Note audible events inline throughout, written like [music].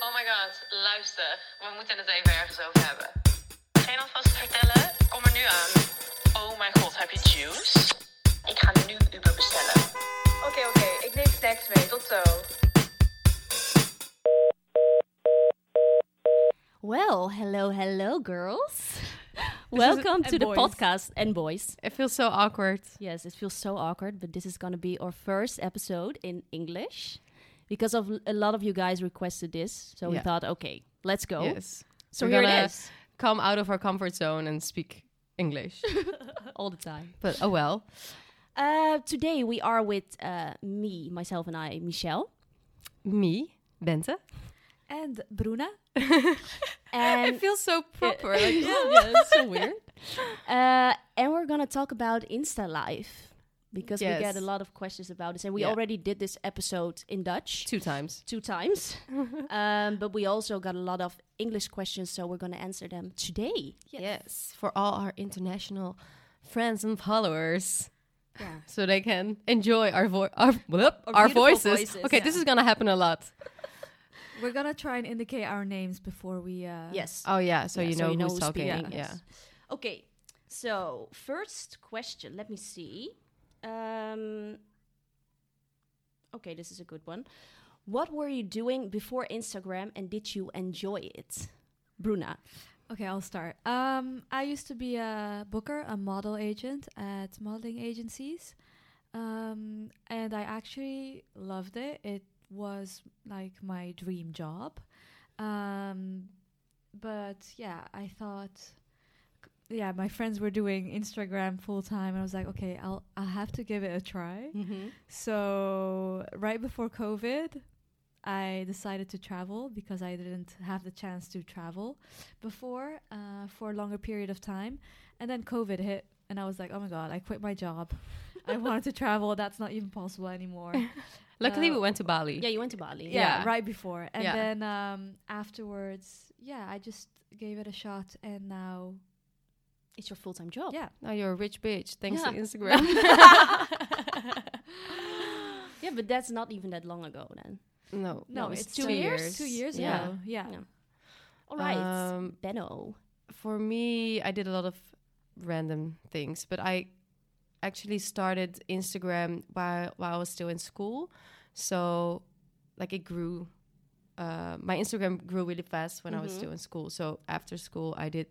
Oh my god, luister. We moeten het even ergens over hebben. Geen alvast vertellen? Kom er nu aan. Oh my god, heb je juice? Ik ga nu Uber bestellen. Oké, oké. Ik neem snacks mee. Tot zo. Well, hello, hello, [laughs] girls. Welcome and to the boys. podcast and boys. It feels so awkward. Yes, it feels so awkward, but this is going to be our first episode in English because of a lot of you guys requested this. So we Yeah. thought, okay, let's go. Yes. So We're here gonna it is Come out of our comfort zone and speak English. all the time. but oh well. Uh, today we are with uh, me, myself, and I, Michelle. Me, Bente. And Bruna? [laughs] And [laughs] It feels so proper. like, [laughs] yeah, yeah, it's so weird. Uh, and we're gonna talk about Insta Live because Yes. we get a lot of questions about this, and we Yeah. already did this episode in Dutch two times. two [laughs] times, um, but we also got a lot of English questions, so we're gonna answer them today. Yes. For all our international friends and followers. Yeah. So they can enjoy our vo- our, blip, our, beautiful voices. voices, Okay, this is gonna happen a lot. We're gonna try and indicate our names before we. Uh, Yes. Oh yeah, so Yeah, you so know you know who's who's talking. speaking, Yeah. yes. Okay. So first question. Let me see. Um, okay, this is a good one. What were you doing before Instagram, and did you enjoy it, Bruna? Okay, I'll start. Um, I used to be a booker, a model agent at modeling agencies. Um, and I actually loved it. It was like my dream job. Um, but yeah, I thought, yeah, my friends were doing Instagram full time, and I was like, okay, I'll I'll have to give it a try. So, right before COVID, I decided to travel because I didn't have the chance to travel before uh, for a longer period of time. And then COVID hit, and I was like, oh my God, I quit my job. [laughs] I wanted to travel. That's not even possible anymore. [laughs] Luckily, Uh, we went to Bali. Yeah, you went to Bali. yeah, Yeah. right before. And Yeah. then um, afterwards, yeah, I just gave it a shot, and now, it's your full-time job. [laughs] yeah. Now Oh, you're a rich bitch thanks to Yeah. Instagram. [laughs] Yeah, but that's not even that long ago then. no, No, it's, two years. Two years ago. Yeah. Yeah. All right, Um, Benno. for me, I did a lot of random things, but I actually started Instagram while while I was still in school. So, like, it grew. Uh, my Instagram grew really fast when I was still in school. So after school, I did.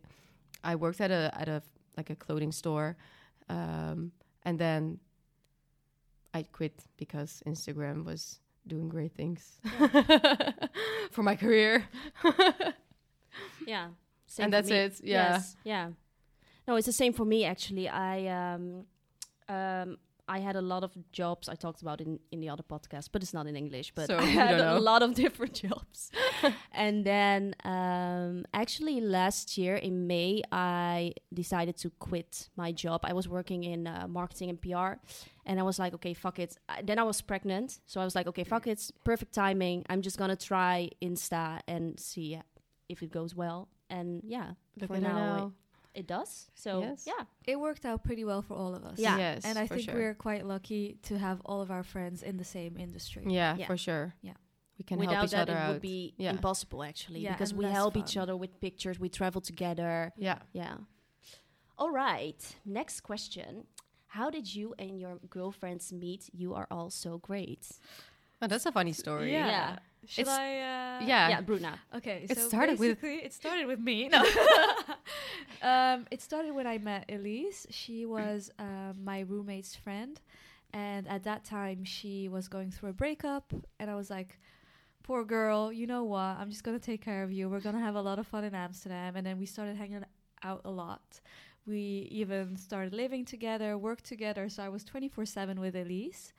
I worked at a at a like a clothing store, um, and then I quit because Instagram was doing great things [laughs] for my career. Yeah. Same And for that's me. it, yeah. Yes, yeah. No, it's the same for me actually. I um, um, I had a lot of jobs. I talked about in in the other podcast, but it's not in English. But So, [laughs] I you had don't a know. lot of different jobs. and then um, actually last year in May, I decided to quit my job. I was working in uh, marketing and PR, and I was like, okay, fuck it. I, then I was pregnant, so I was like, okay, fuck it, perfect timing. I'm just gonna try Insta and see if it goes well. And yeah, Look for at her now, now. It, it does. So Yes. yeah, It worked out pretty well for all of us. Yeah. Yes, and I for think sure. we're quite lucky to have all of our friends in the same industry. Yeah, Yeah. for sure. Yeah. we can without help each that, other it out. would be yeah, impossible actually Yeah, because and we less help each fun. other with pictures. We travel together. yeah. Yeah. All right. Next question. How did you and your girlfriends meet? You are all so great. Oh, that's a funny story. Yeah. Yeah. Should It's- I? Uh, Yeah. yeah, [laughs] Bruna. Okay. It so started with- basically, it started with me. [laughs] No. um, it started when I met Elise. She was uh, my roommate's friend, and at that time she was going through a breakup, and I was like. Poor girl, you know what? I'm just gonna take care of you. We're gonna have a lot of fun in Amsterdam, and then we started hanging out a lot. We even started living together, worked together. So I was 24 7 with Elise.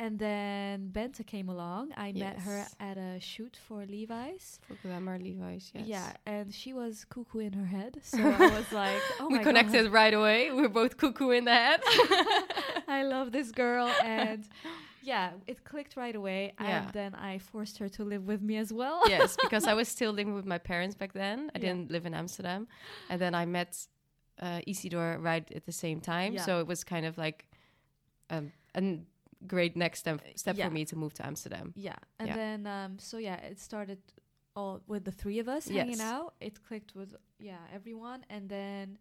And then Benta came along. I met her Yes. at a shoot for Levi's. For Glamour Levi's, yes. Yeah, and she was cuckoo in her head. So [laughs] I was like, oh we my connected right away. We are both cuckoo in the head. God, [laughs] I love this girl. [laughs] And yeah, it clicked right away. Yeah. And then I forced her to live with me as well. yes, because I was still living with my parents back then. I Yeah. didn't live in Amsterdam. And then I met uh, Isidor right at the same time. Yeah. So it was kind of like um, a n- great next step, step Yeah. for me to move to Amsterdam. [laughs] Yeah. And Yeah. then um so yeah, it started all with the three of us Yes. hanging out. It clicked with yeah, everyone and then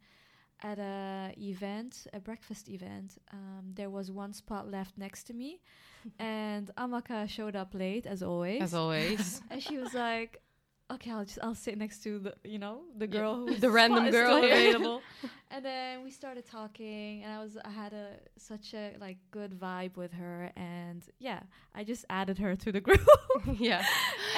at a event, a breakfast event, um, there was one spot left next to [laughs] me and Amaka showed up late as always. As always. And she was like, "Okay, I'll just I'll sit next to the, you know, the girl who the random girl [laughs] available. and then we started talking, and I was I had a such a like good vibe with her, and yeah, I just added her to the [laughs] group. [laughs] yeah.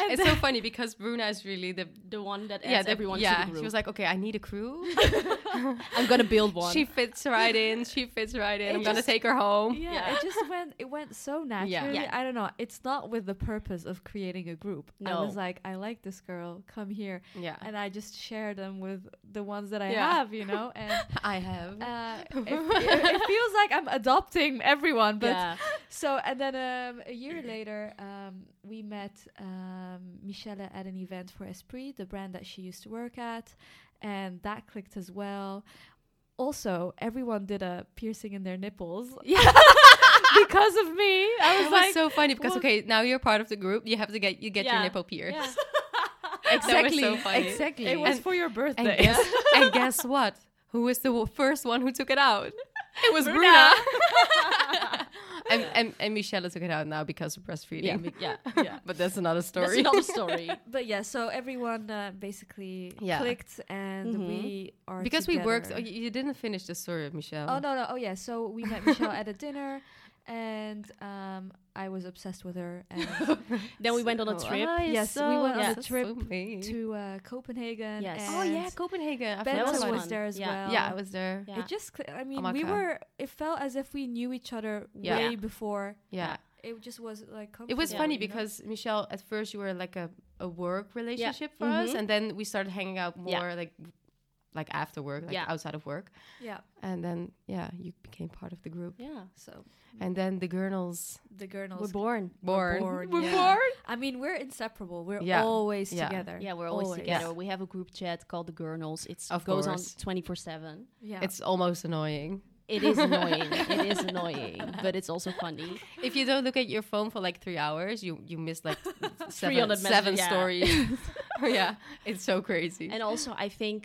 And [laughs] It's so funny because Bruna is really the The one that adds yeah, the- everyone yeah. to the group. She was like, okay, I need a crew. [laughs] I'm gonna build one. she fits right in. She fits right in. It I'm gonna just- take her [laughs] home. yeah, Yeah. it just went it went so naturally. Yeah. I don't know. It's not with the purpose of creating a group. I was No. like, I like this girl. Come here, Yeah, and I just share them with the ones that I Yeah. have, you know. And [laughs] I have. uh, it, [laughs] it feels like I'm adopting everyone, but yeah. [laughs] So and then um, a year later, um, we met um, Michelle at an event for Esprit, the brand that she used to work at, and that clicked as well. Also, everyone did a piercing in their nipples. [laughs] yeah. [laughs] because of [laughs] me, I was It was like, so funny because well- okay, now you're part of the group. You have to get you get Yeah. your nipple pierced. [laughs] yeah, Exactly. Exactly. it was and, for your birthday. and guess, [laughs] and guess what? Who was the wo- first one who took it out? [laughs] It was Bruna. [laughs] and, and and Michelle took it out now because of yeah, breastfeeding. [laughs] yeah, yeah. but that's another That's story. another story. but yeah, so everyone uh, basically Yeah. Mm-hmm. clicked, and Mhm. we are [laughs] because we worked. together. Oh, you, you didn't finish the story of Michelle. Oh no no oh yeah so we met Michelle at a dinner and um I was obsessed with her and Then we went on a Oh, trip. I Yes, we went on saw a that. trip So me. to uh, Copenhagen Yes. and Oh yeah, Copenhagen. I Ben forgot was was, about one. it. there as Yeah. well Yeah, I was there. Yeah. it just cl- I mean we Amaka. were it felt as if we knew each other Yeah. way before yeah. it just was like It was comfortable, funny you know? because Michelle, at first you were like a, a work relationship for us, Mhm. and then we started hanging out more Yeah. like like after work, like Yeah. outside of work, yeah and then yeah, you became part of the group, yeah. so and then the girls the girls We're born. born, born, [laughs] Were yeah. born? I mean we're inseparable we're Yeah. always Yeah. together Yeah, we're always, together. We have a group chat called the Gurnals. It Of goes course. on 24 7. yeah It's almost annoying It is annoying. it is annoying, but it's also funny. if you don't look at your phone for like three hours, you you miss [laughs] like seven, 300 seven messages, yeah. [laughs] stories. [laughs] yeah, it's so crazy. And also, I think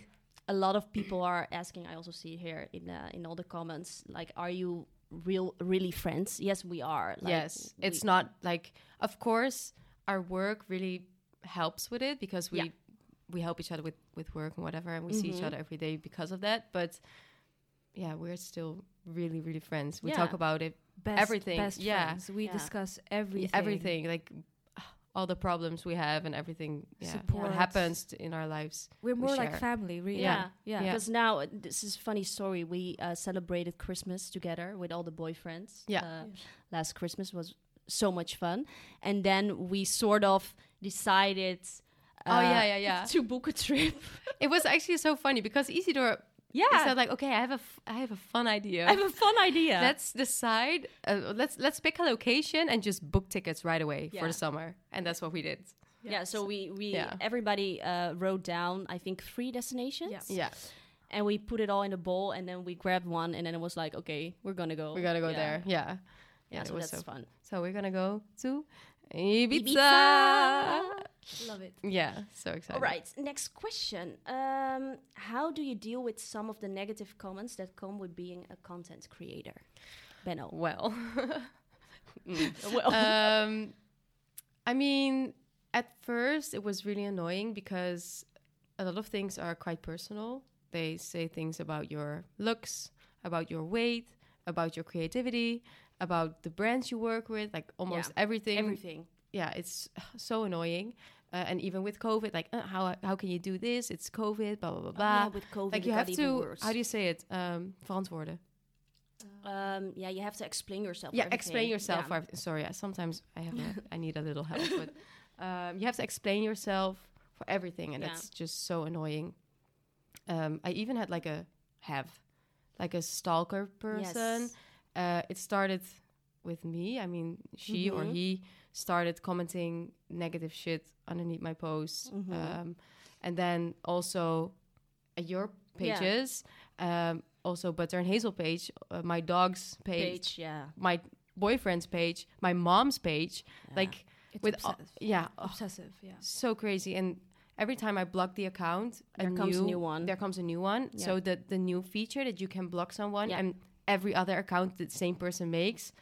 a lot of people are asking. I also see here in uh, in all the comments, like, are you real, really friends? Yes, we are. Like, yes it's we- not like of course our work really helps with it because we Yeah. Mm-hmm. we help each other with with work and whatever and we see each other every day because of that but yeah we're still really really friends we talk Yeah. about it best, everything, best yeah. friends. we Yeah. discuss everything everything like [sighs] all the problems we have and everything yeah Support. what happens t- in our lives we're we more like share. family really Yeah. Yeah. yeah, Because now uh, this is funny story. We uh, celebrated Christmas together with all the boyfriends. Yeah. Uh, last Christmas was so much fun, and then we sort of decided. Uh, Oh, yeah, yeah, yeah. To book a trip. it was actually so funny because Isidore [laughs] yeah. yeah. said like okay I have a f- I have a fun idea I have a fun idea. Let's decide. Uh, let's let's pick a location and just book tickets right away for Yeah. the summer, and that's what we did. yeah. So we we Yeah. everybody uh, wrote down I think three destinations. Yeah, and we put it all in a bowl and then we grabbed one and then it was like okay we're gonna go we gotta go Yeah. there. Yeah, yeah, it so was that's so- fun So we're gonna go to Ibiza. love it Yeah, so excited. all right next question um, how do you deal with some of the negative comments that come with being a content creator benno [laughs] Well, [laughs] well um, I mean, at first it was really annoying because a lot of things are quite personal. They say things about your looks, about your weight, about your creativity, about the brands you work with, like almost Yeah, everything. Everything. Yeah, it's so annoying. Uh, and even with COVID, like uh, how how can you do this? It's COVID, blah blah blah blah. Oh, yeah, with COVID like it you got have even to. worse. How do you say it? Um, verantwoorden. Um, yeah, you have to explain yourself. for yeah everything. explain yourself Yeah. for everything. sorry I- sometimes i have a, [laughs] i need a little help but um, you have to explain yourself for everything and Yeah. that's just so annoying um, i even had like a have like a stalker person Yes. uh, it started with me i mean she or Mm-hmm. he started commenting negative shit underneath my posts Mm-hmm. um, and then also at your Yeah. pages um, also butter and hazel page uh, my dog's page Page, yeah. my boyfriend's page, my mom's page, like It's with all- obsessive. yeah, oh, obsessive. Yeah. so crazy. And every time I block the account, There a comes a new, new one. There comes a new one. Yeah. So the the new feature that you can block someone Yeah. and every other account that same person makes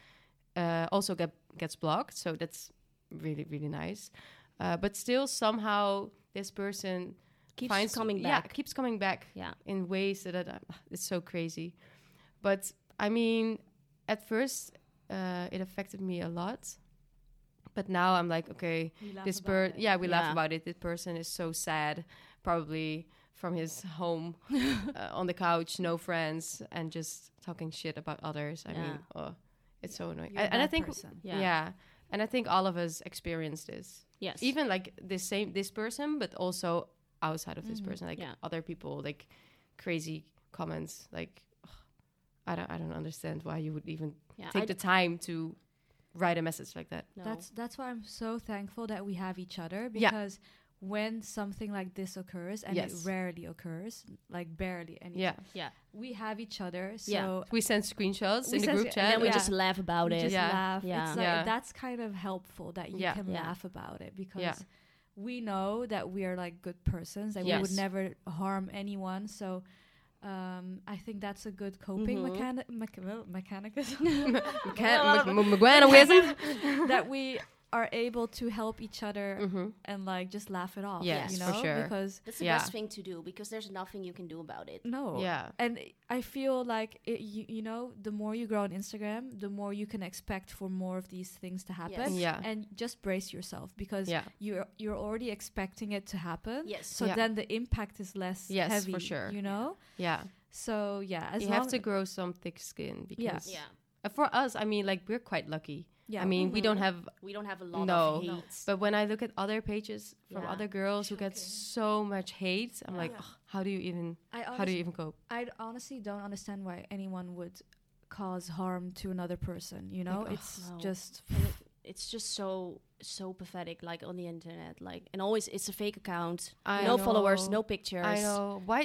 uh, also get gets blocked. So that's really really nice. Uh, but still, somehow this person Keeps finds coming Yeah, back. keeps coming back Yeah. in ways that I, it's so crazy. But I mean, at first uh, it affected me a lot, but now I'm like, okay, We laugh this about person, it. yeah, we laugh Yeah. about it. This person is so sad, probably from his [laughs] home uh, on the couch, no friends, and just talking shit about others. I mean, oh, it's so annoying. You're a And, and I bad think, person. Yeah. yeah. and I think all of us experience this. Yes. Even like the same this person, but also outside of this Mm-hmm. person, like Yeah. other people, like crazy comments, like. ugh, I don't, I don't understand why you would even Yeah, take I- the time to write a message like that. No. That's that's why I'm so thankful that we have each other Yeah. because when something like this occurs and Yes. it rarely occurs, like barely any, Yeah. yeah. we have each other. So Yeah. We send screenshots We in the send group sc- chat. and And we Yeah. just laugh about we it. just Yeah. laugh. Yeah. It's like Yeah. that's kind of helpful that you Yeah. can Yeah. laugh about it because we know that we are like good persons that we Yes. would never harm anyone. So um, I think that's a good coping Mm-hmm. mechani- mecha- well, mechanism [laughs] that we are able to help each other and like just laugh it off. Mm-hmm. Yes, you for know sure. because That's the Yeah. Mm. best thing to do because there's nothing you can do about it. no Yeah. and i feel like it, you, you know the more you grow on instagram the more you can expect for more of these things to happen Yes. Yeah. and just brace yourself because Yeah. you're you're already expecting it to happen Yes. so Yeah. then the impact is less Yes, for heavy sure. you know [laughs] Yeah. so yeah as you long have to grow some thick skin because Yeah. Uh, for us, I mean, like we're quite lucky. Yeah. I Mm-hmm. mean, we don't have We don't have a lot no. of hate. But when I look at other pages from Yeah. other girls who get so much hate, I'm like, "Ugh, how do you even? I How do you even cope? i honestly don't understand why anyone would cause harm to another person you know it's oh, No. just And it- it's just so so pathetic like on the internet like and always it's a fake account I no followers know. no pictures I know why.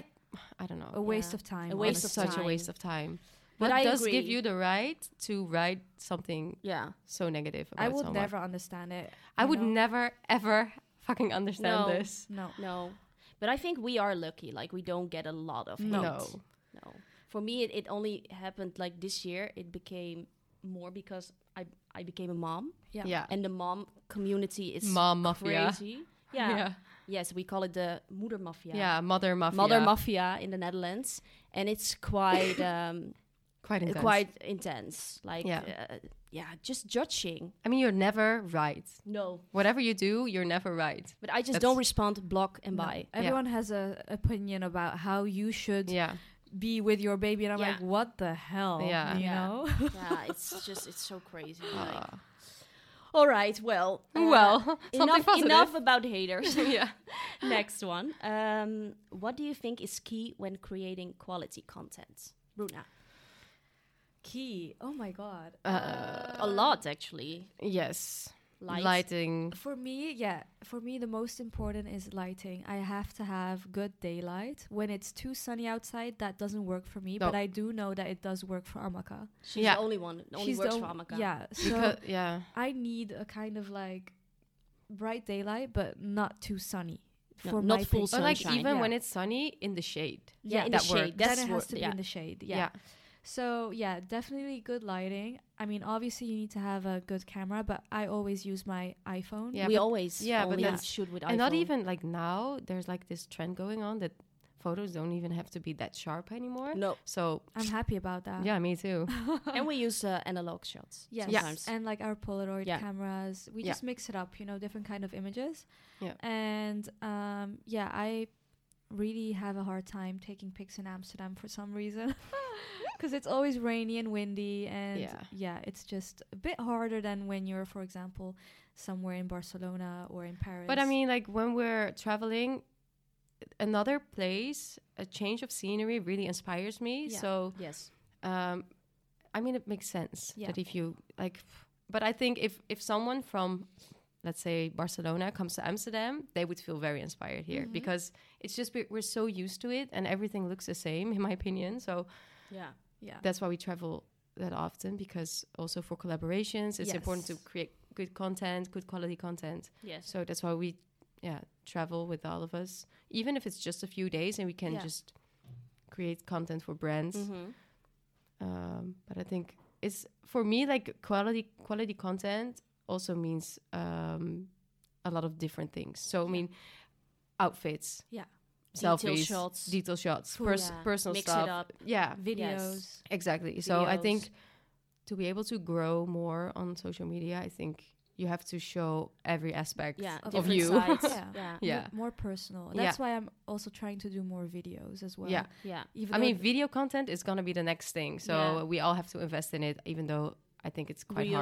I don't a know. waste Yeah. of time A waste It's of honestly. such a waste of time. But What I does give agree. you the right to write something yeah so negative about i would someone? never understand it I you would know? never ever fucking understand No. this. no no but i think we are lucky like we don't get a lot of No. hate. no for me it, it only happened like this year it became more because i i became a mom yeah Yeah. and the mom community is Mom mafia. [laughs] crazy yeah. Yeah. yes we call it the moeder mafia Yeah, mother mafia. mother mafia in the netherlands and it's quite um Quite intense. quite intense. Like, Yeah. uh, yeah, just judging. I mean, you're never right. No, Whatever you do, you're never right. but I just That's- don't respond. Block and buy. Everyone has a opinion about how you should Yeah. be with your baby, and I'm Yeah. like, what the hell? Yeah. you Yeah. know. [laughs] [laughs] yeah, it's just it's so crazy. like- all right, well, uh, Ah. Well, [laughs] something enough positive. enough about haters. [laughs] yeah. [laughs] Next one. Um, what do you think is key when creating quality content, Runa? Key. Oh my god. Uh, a Uh, lot actually. Yes. Light. Lighting. For me, yeah. For me, the most important is lighting. I have to have good daylight. When it's too sunny outside, that doesn't work for me. But No. I do know that it does work for Amaka. She's Yeah. the only one. Only She's the works on- for Amaka. Yeah. So Because, yeah. I need a kind of like bright daylight, but not too sunny. No, for not my full taste. Or like sunshine. even Yeah. when it's sunny, in the shade. Yeah, in that the shade. works. That's then it wor- has to be yeah. in the shade. Yeah. yeah. So yeah, definitely good lighting. I mean, obviously you need to have a good camera, but I always use my iPhone. Yeah, we but- always yeah, but only that's- shoot with iPhone. and not even like now there's like this trend going on that photos don't even have to be that sharp anymore no. [laughs] Ah. so I'm happy about that. yeah me [laughs] too [laughs] and we use uh, analog shots. Yes. sometimes. And like our Polaroid Yeah. cameras, we Yeah. just mix it up, you know, different kind of images. Yeah. And um, yeah, I really have a hard time taking pics in Amsterdam for some [laughs] reason. [laughs] Because it's always rainy and windy, and yeah. Yeah. it's just a bit harder than when you're, for example, somewhere in Barcelona or in Paris. But I mean, like when we're traveling, another place, a change of scenery really inspires me. Yeah. So, Yes. um, I mean, it makes sense Yeah. that if you like, but I think if if someone from, let's say Barcelona comes to Amsterdam, they would feel very inspired here Mm-hmm. because it's just we- we're so used to it and everything looks the same, in my opinion. So Yeah. yeah, that's why we travel that often because also for collaborations, it's important to Yes. create good content, good quality content. Yes. So that's why we, yeah, travel with all of us, even if it's just a few days, and we can Yeah. just create content for brands. hmm Um, but I think it's for me like quality quality content also means um, a lot of different things. So I mean, outfits, Yeah. Detail selfies, shots. detail shots, pers- Yeah. personal Mix it stuff, up. yeah, videos. Yes. exactly. So I Videos. think to be able to grow more on social media, I think you have to show every aspect Yeah. Of of different you. [laughs] [laughs] sides. Yeah. yeah. yeah. Mo- more personal. Yeah. That's why I'm also trying to do more videos as well. Yeah. Yeah. Even I though mean, video content is gonna be the next thing, so Yeah. we all have to invest in it. Even though I think it's quite Reels.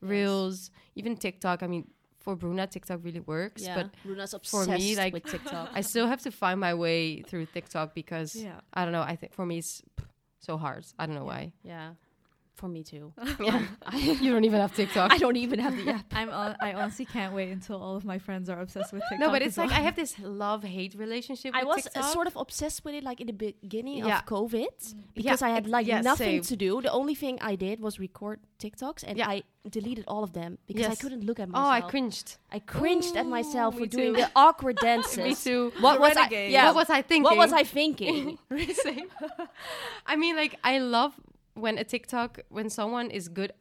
hard. Reels, even TikTok. I mean, for Bruna, TikTok really works, Yeah. but Luna's for obsessed me, like with TikTok. I still have to find my way through TikTok because Yeah. I don't know. I think for me, it's so hard. I don't know why. [laughs] yeah. For me [laughs] too. Yeah, you don't even have TikTok. [laughs] I don't even have the app. I'm on, I honestly can't wait until all of my friends are obsessed with TikTok. no, but it's as well. like I have this love hate relationship. I with was uh, TikTok. sort of obsessed with it like in the beginning Yeah. of COVID because Yeah, I had ex- like yeah, nothing same. to do. The only thing I did was record TikToks and Yeah. I deleted all of them because I Yes. couldn't look at oh, I myself. cringed. I cringed at myself Ooh, for me doing too. the [laughs] awkward dances. Me too. What was I? renegade. Yeah. What was I thinking? What was I [laughs] thinking? Same. I mean, like, I love when a TikTok, when someone is good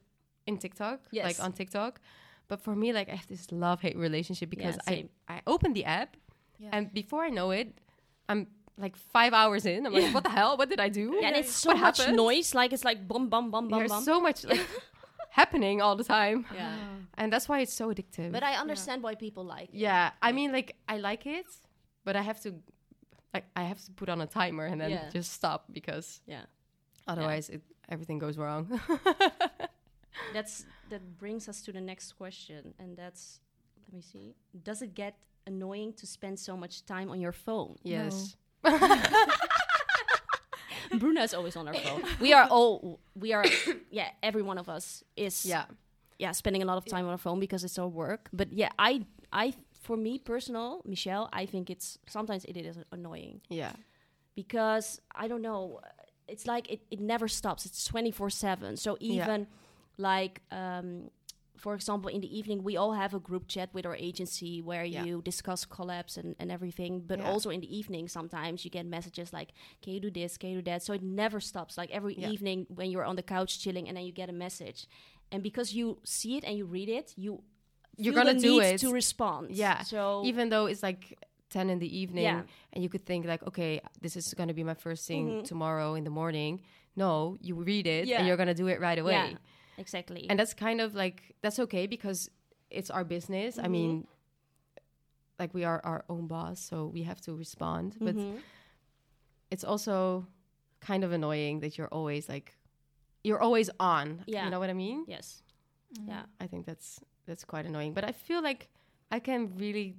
in TikTok, Yes. like on TikTok. But for me, like, I have this love hate relationship because I, same. I open the app Yeah. and before I know it, I'm like five hours in. I'm like, what the hell? What did I do? Yeah, [laughs] and it's so What much happened? noise. Like it's like bum bum bum bum There's bum. so [laughs] much like happening all the time. yeah. And that's why it's so addictive. But I understand why people like. it. yeah, I mean, like, I like it, but I have to. Like I have to put on a timer and then Yeah. just stop because Yeah. otherwise it, everything goes wrong. [laughs] That's that brings us to the next question, and that's let me see. Does it get annoying to spend so much time on your phone? Yes. [laughs] Bruna is always on her phone. [laughs] We are all we are yeah, every one of us is Yeah. yeah, spending a lot of time on our phone because it's our work. But yeah, I I for me personal, Michelle, I think it's sometimes it is annoying Yeah. because I don't know, it's like it, it never stops. It's 24/7. So Yeah. even like um for example, in the evening, we all have a group chat with our agency where Yeah. you discuss collabs and, and everything. But Yeah. also in the evening, sometimes you get messages like, can you do this? Can you do that? So it never stops. Like every Yeah. evening when you're on the couch chilling and then you get a message. And because you see it and you read it, you You're feel the gonna do need it. to respond. Yeah. So Even though it's like 10 in the evening Oh. Yeah. and you could think like, okay, this is going to be my first thing tomorrow in the morning. No, you read it Mm-hmm. Yeah. and you're going to do it right away. yeah, exactly. And that's kind of like that's okay because it's our business. I mean, Mm-hmm. like we are our own boss, so we have to respond, but it's also kind of annoying that you're always like you're always on. Yeah. You know what I mean? yes. Yeah. I think that's that's quite annoying. But I feel like I can really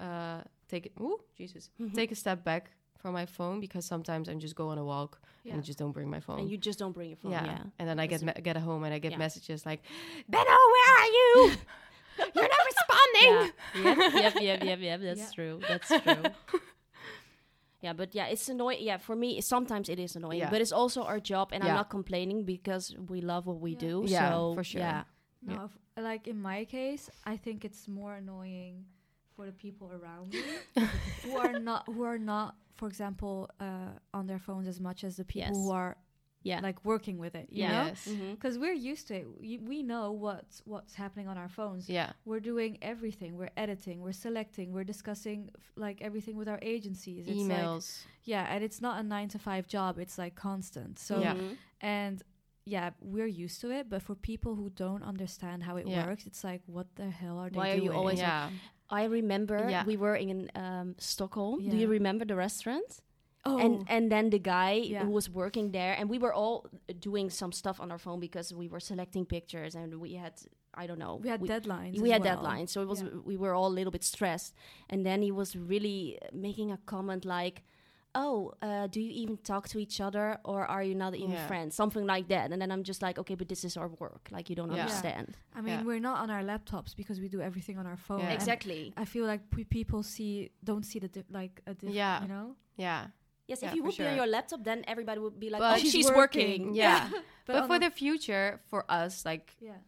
uh, take it. Ooh, Jesus, Mm-hmm. take a step back from my phone because sometimes I just go on a walk and I just don't bring my phone. And you just don't bring your phone. yeah. yeah. and then I get me- get home and I get yeah. messages like, Benno, where are [laughs] you? You're not yeah. responding. yep, yep, yep, yep, [laughs] yep. That's true. That's true. yeah, but yeah, it's annoying. Yeah, for me, sometimes it is annoying, Yeah. but it's also our job, and I'm Yeah. not complaining because we love what we do. Yeah, so, for sure. Yeah, No, if- like in my case, I think it's more annoying for the people around [laughs] me who are not who are not, for example, uh, on their phones as much as the people Yes. who are Yeah. like working with it. You Yeah. yeah. Yes. Mhm. Because we're used to it. We, we know what's what's happening on our phones. Yeah. We're doing everything. We're editing. We're selecting. We're discussing f- like everything with our agencies. It's Like, Emails. yeah, and it's not a nine to five job. It's like constant. So Yeah. Mhm. and yeah, we're used to it. But for people who don't understand how it Yeah. works, it's like what the hell are they Why are you doing? always like- yeah. I remember Yeah. we were in um, Stockholm. Do Yeah. you remember the restaurant? oh And and then the guy Yeah. who was working there, and we were all doing some stuff on our phone because we were selecting pictures, and we had I don't know we had deadlines. we as had well. deadlines, so it was Yeah. we were all a little bit stressed. And then he was really uh, making a comment like, "Oh, uh, do you even talk to each other, or are you not even Yeah. friends?" Something like that. And then I'm just like, "Okay, but this is our work. Like you don't Yeah. Yeah. understand." I mean, Yeah. we're not on our laptops because we do everything on our phone. Yeah. and Exactly. I feel like p- people see don't see the di- like a diff- Yeah. you know. Yeah. Yes, Yeah, if you for would be on sure. your laptop, then everybody would be like, But "Oh, she's, she's working." [laughs] working. Yeah. But But, on for the the- future, for us, like Yeah.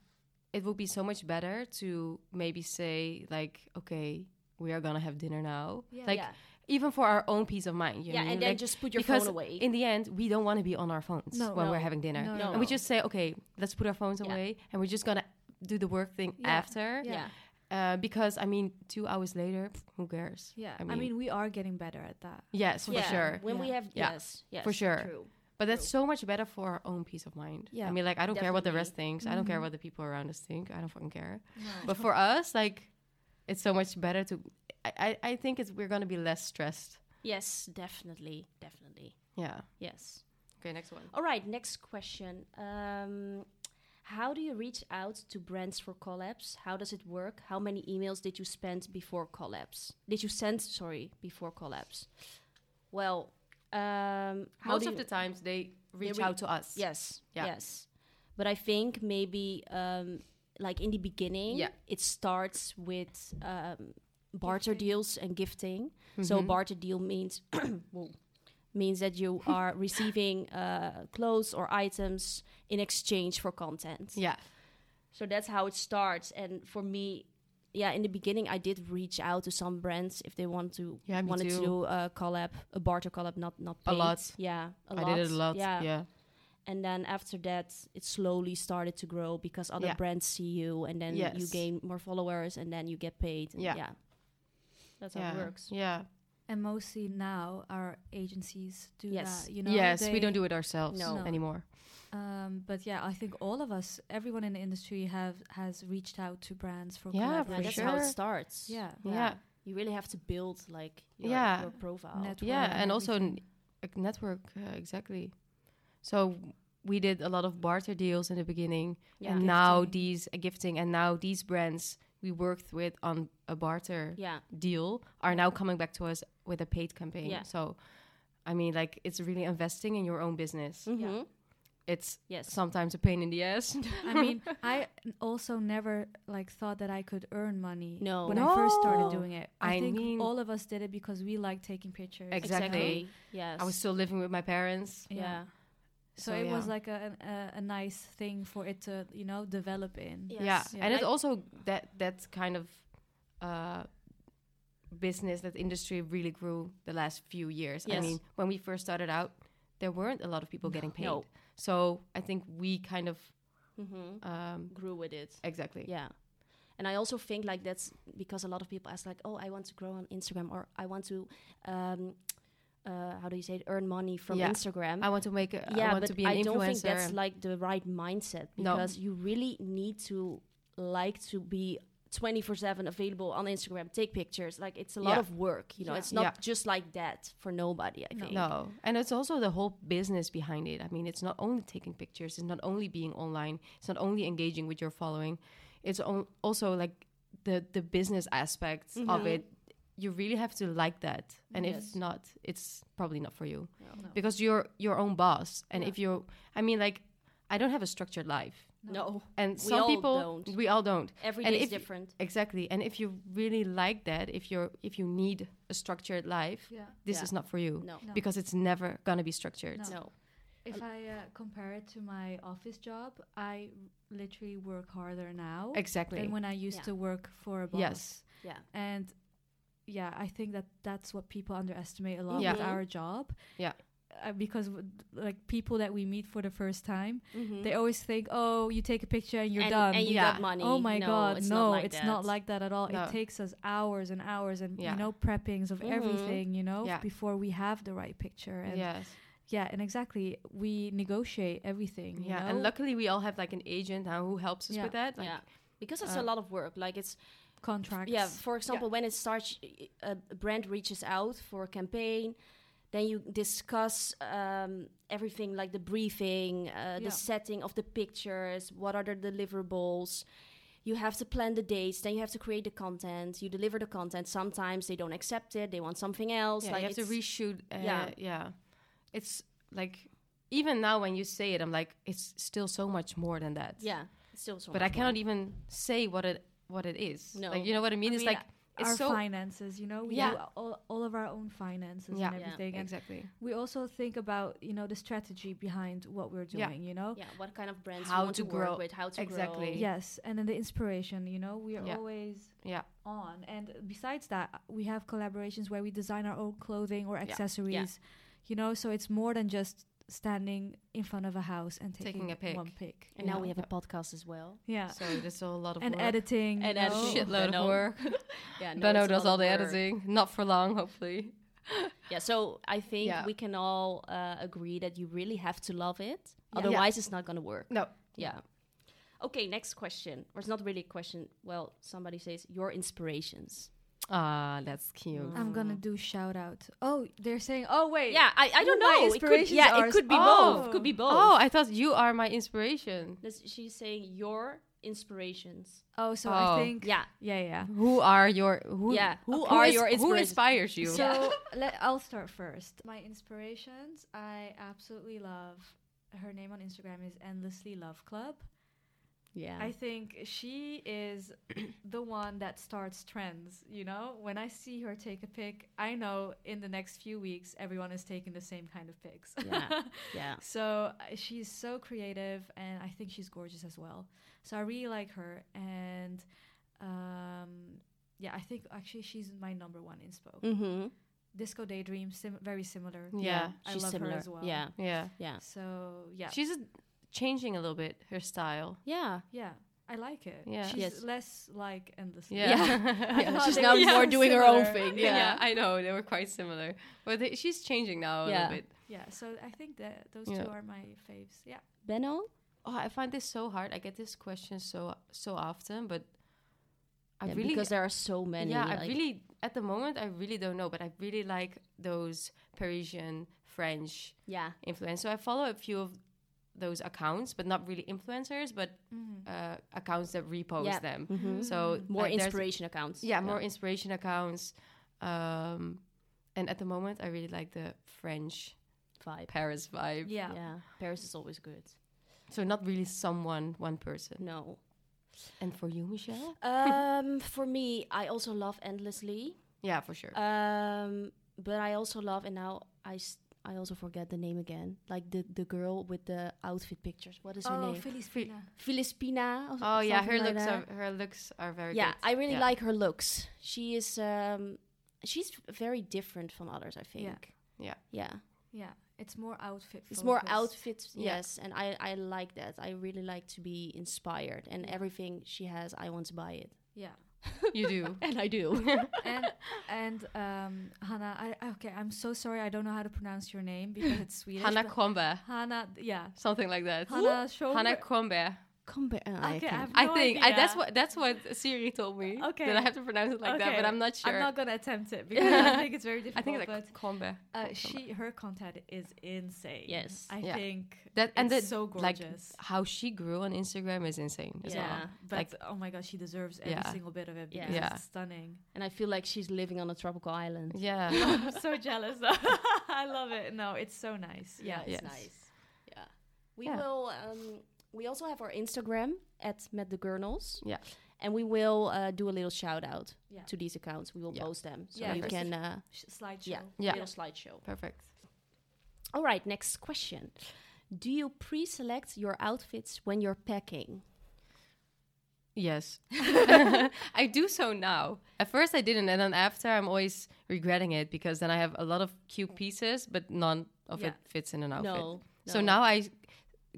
it would be so much better to maybe say like, okay, we are gonna have dinner now. Like Yeah. even for our own peace of mind. You Yeah, know? and then Like, just put your because phone away. In the end, we don't want to be on our phones No. when No. we're having dinner. No, No, And we no. just say, okay, let's put our phones Yeah. away, and we're just gonna do the work thing Yeah. after. Yeah. yeah. Uh, because I mean, two hours later, pff, who cares? Yeah. I mean, we are getting better at that. yes, for Yeah, sure. When we Yeah. have Yeah. yes, yes, For sure. True. But that's so much better for our own peace of mind. Yeah, I mean, like, I don't care what the definitely. rest thinks. I don't care what the people around us think. I don't fucking care. But for us, like, it's so much better to. I, I, I think it's we're gonna be less stressed. Yes, definitely, definitely. Yeah. Yes. Okay, next one. All right. Next question. Um, how do you reach out to brands for collabs? How does it work? How many emails did you spend before collabs? Did you send? Sorry, before collabs. Well, um, how Most do of you- the times they reach re- out to us. Yes. Yeah. Yes. But I think maybe um, like in the beginning, Yeah. it starts with um, barter deals and gifting. So Mm-hmm. barter deal means [clears throat] whoa, means that [laughs] you are receiving uh, clothes or items in exchange for content. Yeah. So that's how it starts. And for me, yeah, in the beginning, I did reach out to some brands if they want to Yeah, me wanted to too. do a collab, a barter collab, not not A paid. lot. Yeah, a I did it a lot. Yeah. and then after that it slowly started to grow because other Yeah. brands see you and then you Yes. gain more followers and then you get paid and yeah, Yeah. that's yeah. how it works Yeah. And mostly now our agencies do Yes. that. You know. yes, They- we don't do it ourselves No. No. anymore. Um, but yeah, I think all of us, everyone in the industry, have has reached out to brands for Yeah, for yeah, that's collaboration. how it sure. starts Yeah. Yeah. you really have to build like your, Yeah. your profile Network yeah and and also n- everything. a network uh, exactly so we did a lot of barter deals in the beginning Yeah. and now Gifting. these uh, gifting and now these brands we worked with on a barter yeah deal are now coming back to us with a paid campaign Yeah. so i mean like it's really investing in your own business Mhm. it's yes sometimes a pain in the ass I [laughs] mean, I n- also never like thought that I could earn money No. when I first No. started doing it. I, I think mean- all of us did it because we like taking pictures. Exactly. yes i was still living with my parents Yeah. yeah So, So, it was yeah. like a, an- a a nice thing for it to you know develop in. Yes. Yeah. Yeah. and it's I- also that that kind of uh, business that industry really grew the last few years. I Yes. mean, when we first started out, there weren't a lot of people getting paid. No. So I think we kind of Mhm. um, grew with it exactly. Yeah. And I also think like that's because a lot of people ask like, oh, I want to grow on Instagram or I want to, um, uh, how do you say it, earn money from Yeah. Instagram. I want to make. A, yeah, I want but to be an I influencer. don't think that's like the right mindset No. because you really need to like to be 24/7 available on Instagram, take pictures. Like it's a lot Yeah. of work, you know. Yeah. It's not Yeah. just like that for nobody, I think. no, and it's also the whole business behind it. I mean, it's not only taking pictures, it's not only being online, it's not only engaging with your following, it's on, also like the the business aspect of it. You really have to like that, and Mm-hmm. Yes. if not, it's probably not for you because you're your own boss. And if you're, I mean, like I don't have a structured life, No. and We some all people don't. we all don't. Every And day is if you- different. Exactly, and if you really like that, if you're if you need a structured life, Yeah. this Yeah. is not for you No. No. because it's never gonna be structured. No. No. If I uh, compare it to my office job, I literally work harder now Exactly. than when I used Yeah. to work for a boss. Yes. Yeah. And yeah, I think that that's what people underestimate a lot Yeah. with our job. Yeah. uh, because w- like people that we meet for the first time, they always think, "Oh, you take a picture and you're Mm-hmm. and, done." and you Yeah. got money. Oh my no, god, it's no, not like it's that. not like that at all. No. It takes us hours and hours and Yeah. you know preppings of Mhm. everything, you know, Yeah. before we have the right picture. And yeah, yes. and exactly, we negotiate everything. you Yeah. know? And luckily, we all have like an agent now who helps us Yeah. with that. Like, yeah. Because it's uh, a lot of work. Like it's contracts. yeah. For example, when it starts, y- y- a brand reaches out for a campaign, then you discuss um, everything like the briefing, uh, Yeah. the setting of the pictures, what are the deliverables. You have to plan the dates. Then you have to create the content. You deliver the content. Sometimes they don't accept it. They want something else. Yeah, like you have to it's- reshoot. Uh, yeah, yeah. yeah. It's like even now when you say it, I'm like, it's still so much more than that. Yeah, it's still so. but I much cannot more. even say what it what it is. No. Like you know what I mean? it's mean, like our it's so finances, you know, we Yeah. do all, all of our own finances Yeah. and Yeah, everything. and exactly we also think about, you know, the strategy behind what we're Yeah. doing, you know? Yeah, what kind of brands How you want to to, grow- work with? How to exactly. grow? Yes, and then the inspiration, you know, we are Yeah. always yeah on. And besides that, we have collaborations where we design our own clothing or accessories, you know, so it's more than just standing in front of a house and taking, Taking a pic. one pic. And now Yeah. we have a podcast as well. Yeah. so there's a lot of and work. editing. Uh, And you know? editing. Shit. [laughs] shitload of Benno. work [laughs] Yeah, Benno it's a does lot all of the work. editing not for long hopefully Yeah, so I think Yeah. we can all uh, agree that you really have to love it. Yeah. Otherwise, it's not going to work. no Yeah. Okay, next question. Or it's not really a question. Well, somebody says your inspirations. ah that's cute I'm gonna do shout out. Oh, they're saying, oh, wait. Yeah, I, I Who don't my know. It could, inspirations yeah, are. it could be Oh. both. Could be both. oh I thought you are my inspiration This- She's saying your inspirations. Oh, so Oh. I think. Yeah. Yeah, yeah. who are your who Yeah, who okay. are Who is- your who inspirations? who inspires inspires you [laughs] So let, I'll start first. My inspirations, I absolutely love. Her name on Instagram is Endlessly Love Club. Yeah. [laughs] I think she is the one that starts trends. You know, when I see her take a pic, I know in the next few weeks everyone is taking the same kind of pics. Yeah. yeah. [laughs] So uh, she's so creative, and I think she's gorgeous as well. So I really like her, and um, yeah, I think actually she's my number one inspo. Mm-hmm. Disco Daydream, sim- very similar. yeah I She's love her similar. as well. Yeah. yeah Yeah. So yeah, she's uh, changing a little bit her style [laughs] Yeah. yeah, I like it. Yeah. she's Yes. less like endlessly. yeah, [laughs] [laughs] I thought She's they now were more so doing her own similar. thing. Yeah. Yeah. I know they were quite similar, but they, she's changing now a Yeah. little bit. Yeah, so I think that those Yeah. two are my faves. Yeah, Benno? Oh, I find this so hard. I get this question so so often, but I Yeah, really because there are so many. yeah, I like- really at the moment I really don't know, but I really like those Parisian French Yeah. influencers. So I follow a few of those accounts, but not really influencers, but uh, accounts that repost Mm-hmm. Yeah. them. Mhm. Mm-hmm. So More like, there's- inspiration accounts. yeah, more inspiration accounts. Um, and at the moment, I really like the French vibe. Paris vibe. yeah. Yeah. Paris is always good. So not really someone, one person. No. And for you, Michelle? [laughs] Um, for me, I also love endlessly. Yeah, for sure. Um, but I also love, and now I, s- I also forget the name again. Like the, the girl with the outfit pictures. What is her Oh, name? Feliz Fe- Fina. Filipina. or oh yeah, something her like looks that. are her looks are very Yeah, good. I really Yeah. like her looks. She is um, she's very different from others. I think. Yeah. Yeah. Yeah, it's more outfit. It's more focused. outfits, Yeah. yes, and I I like that. I really like to be inspired, and everything she has, I want to buy it, Yeah, you [laughs] do. and I do. and and um, Hannah, I okay, I'm so sorry, I don't know how to pronounce your name because [laughs] it's Swedish. Hannah but Kombe, Hannah, yeah, something like that. Hannah Hannah Schober. Kombe. Come back. I Okay, I can't- have I no think I, that's idea. what that's what Siri told me. Okay. That I have to pronounce it like that, but Okay, I'm not sure. I'm not gonna attempt it because I think it's very [laughs] I difficult. think it's but like Kombe. uh, she her content is insane. Yes. I Yeah. think That and it's the, so like gorgeous. how she grew on Instagram is insane. As Yeah. well. but like- oh my god, she deserves every Yeah. single bit of it Yeah. because Yeah. it's [laughs] stunning. and I feel like she's living on a tropical island. [laughs] Yeah. I'm so jealous. I love it. No, it's so nice. Yeah. it's Yes. nice. Yeah, we Yeah. will. Um, we also have our Instagram at Met the Gurnals. Yeah. and we will uh, do a little shout out Yeah. to these accounts. We will Yeah. post them so Yeah, you first can. Uh, Sh- Slideshow. yeah, Yeah. little slideshow. Perfect. All right, next question. Do you pre-select your outfits when you're packing? [laughs] Yes. [laughs] I do so now. At first I didn't and then after I'm always regretting it because then I have a lot of cute pieces but none of Yeah. it fits in an outfit. No, So no. now I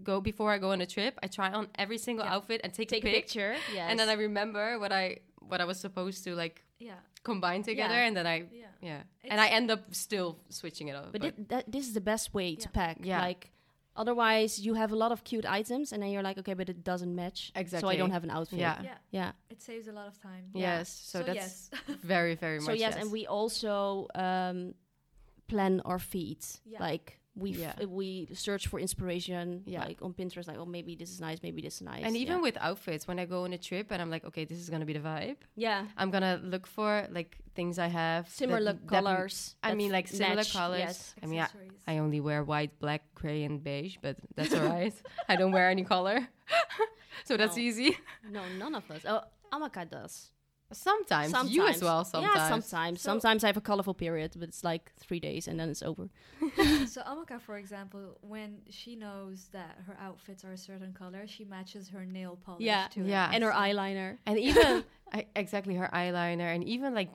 go before I go on a trip. I try on every single Yeah. outfit and take, take a, pic, a picture. Yes. and then I remember what I what I was supposed to like Yeah. combine together, Yeah. and then I Yeah. yeah, and I end up still switching it up. But, thi- that, this is the best way to pack. Yeah. Like, otherwise you have a lot of cute items, and then you're like, okay, but it doesn't match. So I Exactly. don't have an outfit. yeah. Yeah. Yeah. It saves a lot of time. Yes, so, that's yes. [laughs] very, very So much. yes, and we also um, plan our feet. Yeah. Like we f- Yeah. we search for inspiration. Yeah. Like on Pinterest, like oh maybe this is nice, maybe this is nice. And even yeah. with outfits, when I go on a trip and I'm like, okay, this is gonna be the vibe. yeah I'm gonna look for like things I have similar that- that- colors. I that mean, like similar match, colors. Yes. I mean, I, Accessories. I only wear white, black, gray, and beige, but that's all right. [laughs] I don't wear any color, [laughs] so that's No. easy. No, none of us. Oh, Amaka does. Sometimes, you as well. Sometimes, Yeah, sometimes. So- sometimes I have a colorful period, but it's like three days and then it's over. so Amaka, for example, when she knows that her outfits are a certain color, she matches her nail polish Yeah. to it. Yeah. And her eyeliner. and even [laughs] I, exactly her eyeliner, and even like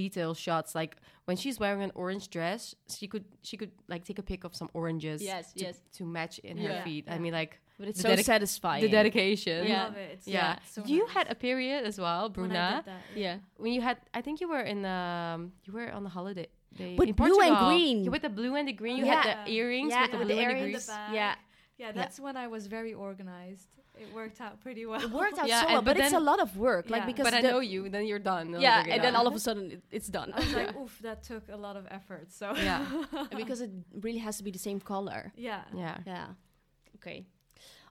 detail shots. Like when she's wearing an orange dress, she could she could like take a pic of some oranges. Yes, to, yes. to match in Yeah. her feet. I Yeah. mean, like [laughs] But it's so The dedic- the satisfying. the dedication. I Yeah. love it. It's Yeah, so you nice. had a period as well, Bruna. When I did that, yeah. when you had i think you were in um you were on the holiday day With in blue and Portugal. green. Yeah, with the blue and the green you Yeah. had the earrings Yeah, with the with blue the and the earrings. green the back. Yeah. Yeah, that's when I was very organized. It worked out pretty well. It worked out Yeah, so and- well, but, but it's a then- lot of work. Like Yeah. because but i the- know you then you're done Yeah, and then all of a sudden it, it's done. [laughs] I was like, oof, that took a lot of effort. [laughs] So [laughs] yeah And because it really has to be the same color. yeah. yeah Yeah. Okay.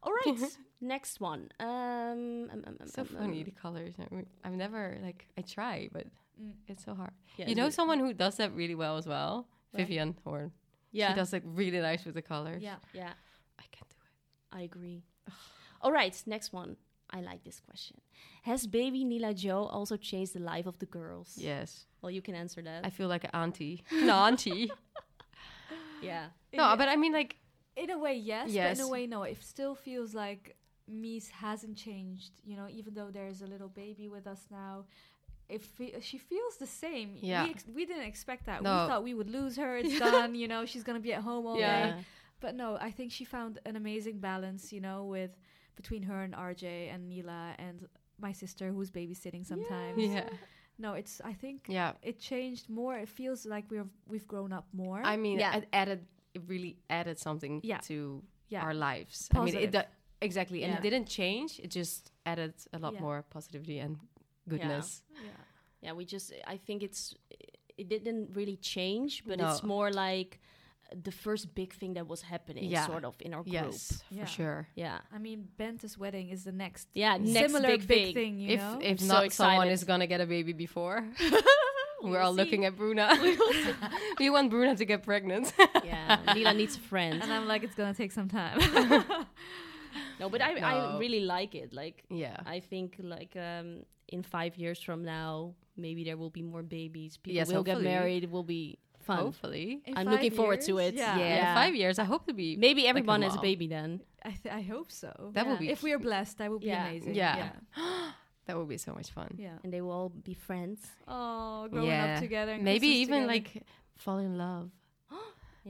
All right. [laughs] Next one. Um, um, um, um, so um, funny the um, colors I mean, i've never like i try but Mm. it's so hard yeah, you know it's- someone who does that really well as well Right. vivian horn Yeah. she does like really nice with the colors Yeah. yeah. i can't do it I agree. [sighs] All right, next one. I like this question. Has baby Nila Joe also changed the life of the girls? yes Well, you can answer that. i feel like an [laughs] auntie an auntie yeah. no but i mean like In a way, yes, but Yes. in a way, no. It still feels like Mies hasn't changed. You know, even though there's a little baby with us now, if she feels the same. Yeah. we, ex- we didn't expect that. No. We thought we would lose her. [laughs] It's done. You know, she's gonna be at home all Yeah. day. But no, I think she found an amazing balance. You know, with between her and RJ and Nila and my sister who's babysitting sometimes. yeah No, it's I think yeah it changed more. It feels like we've we've grown up more. I mean, Yeah. it added it really added something Yeah. to Yeah. our lives. I mean, Positive. it do- exactly, and Yeah. it didn't change. It just added a lot Yeah. more positivity and goodness. yeah. Yeah, we just, I think it's, it didn't really change, but it's No. more like the first big thing that was happening, Yeah. sort of, in our group. Yes, Yeah. for sure. Yeah. [laughs] I mean, Benta's wedding is the next Yeah, next similar big, thing. thing, you if know. if I'm so not someone excited. is gonna get a baby [laughs] before, [laughs] will we're all looking at [laughs] Bruna. [laughs] we want Bruna to get pregnant. [laughs] Yeah, Nila needs friends. and I'm like, it's gonna take some time. No, but I, I No. really like it. Like, yeah, I think like um, in five years from now, maybe there will be more babies. People Yes, will get hopefully. married. It will be fun. hopefully. In I'm five looking forward to years? it. Yeah, Yeah, in Yeah. five years. I hope to be. Maybe everyone has a wow. baby then. I th- I hope so. That would Yeah. be if we are blessed, that would be Yeah. amazing. Yeah. yeah, that would be so much fun. yeah. And they will all be friends. Oh, growing Yeah. up together. And Maybe Christmas even together. like fall in love.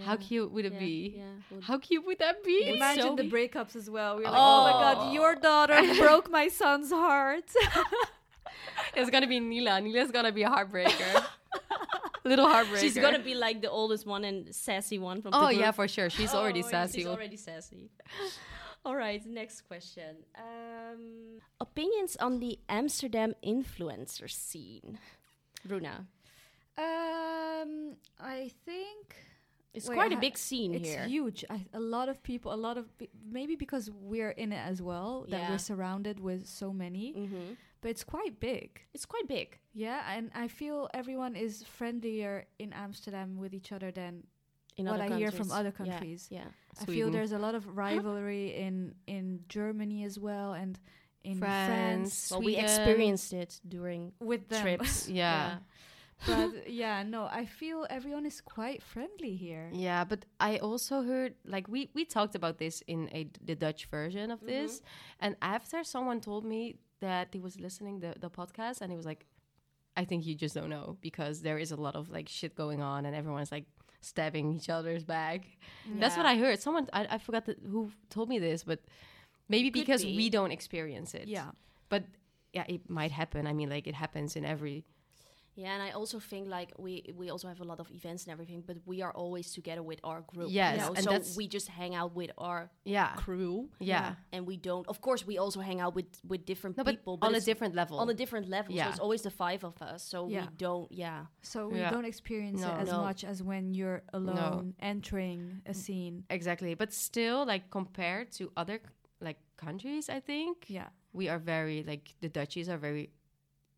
How cute would it yeah, be? Yeah. Well, How cute would that be? Imagine so- the breakups as well. We were like, oh my god, your daughter [laughs] broke my son's heart. [laughs] [laughs] It's gonna be Nila. Nila's gonna be a [laughs] heartbreaker. Little heartbreaker. She's gonna be like the oldest one and sassy one from Oh the group. yeah, for sure. She's already Oh, yeah, sassy. She's already sassy. [laughs] All right, next question. Um, opinions on the Amsterdam influencer scene, Bruna. um, I think It's Wait, quite a ha- big scene it's here. huge. I, a lot of people, a lot of pe- maybe because we're in it as well that Yeah. we're surrounded with so many, Mhm. but it's quite big. It's quite big. Yeah, and I feel everyone is friendlier in Amsterdam with each other than in what other I hear from countries. other Yeah, countries. Yeah. I feel Sweden. there's a lot of rivalry in in Germany as well and in France, France. Well, we Sweden. experienced it during with them. [laughs] [laughs] trips. Yeah. [laughs] but yeah, no, I feel everyone is quite friendly here. yeah, But I also heard like we we talked about this in a the Dutch version of this, Mm-hmm. and after someone told me that he was listening the the podcast and he was like, I think you just don't know because there is a lot of like shit going on and everyone's like stabbing each other's back. That's what I heard. Someone I, I forgot the, who told me this, but maybe Could because be. we don't experience it. Yeah. but yeah, it might happen. I mean, like it happens in every. Yeah, and I also think like we we also have a lot of events and everything, but we are always together with our group. you Yes, know? and so that's- we just hang out with our Yeah, crew. Yeah. and we don't. Of course, we also hang out with with different no, but, people, on a it's different level. on a different level. So Yeah. it's always the five of us. So we Yeah. don't. Yeah, So we Yeah. don't experience No. Mm. it as No. much as when you're alone entering a scene. exactly, but still, like compared to other like countries, I think Yeah. we are very like the Dutchies are very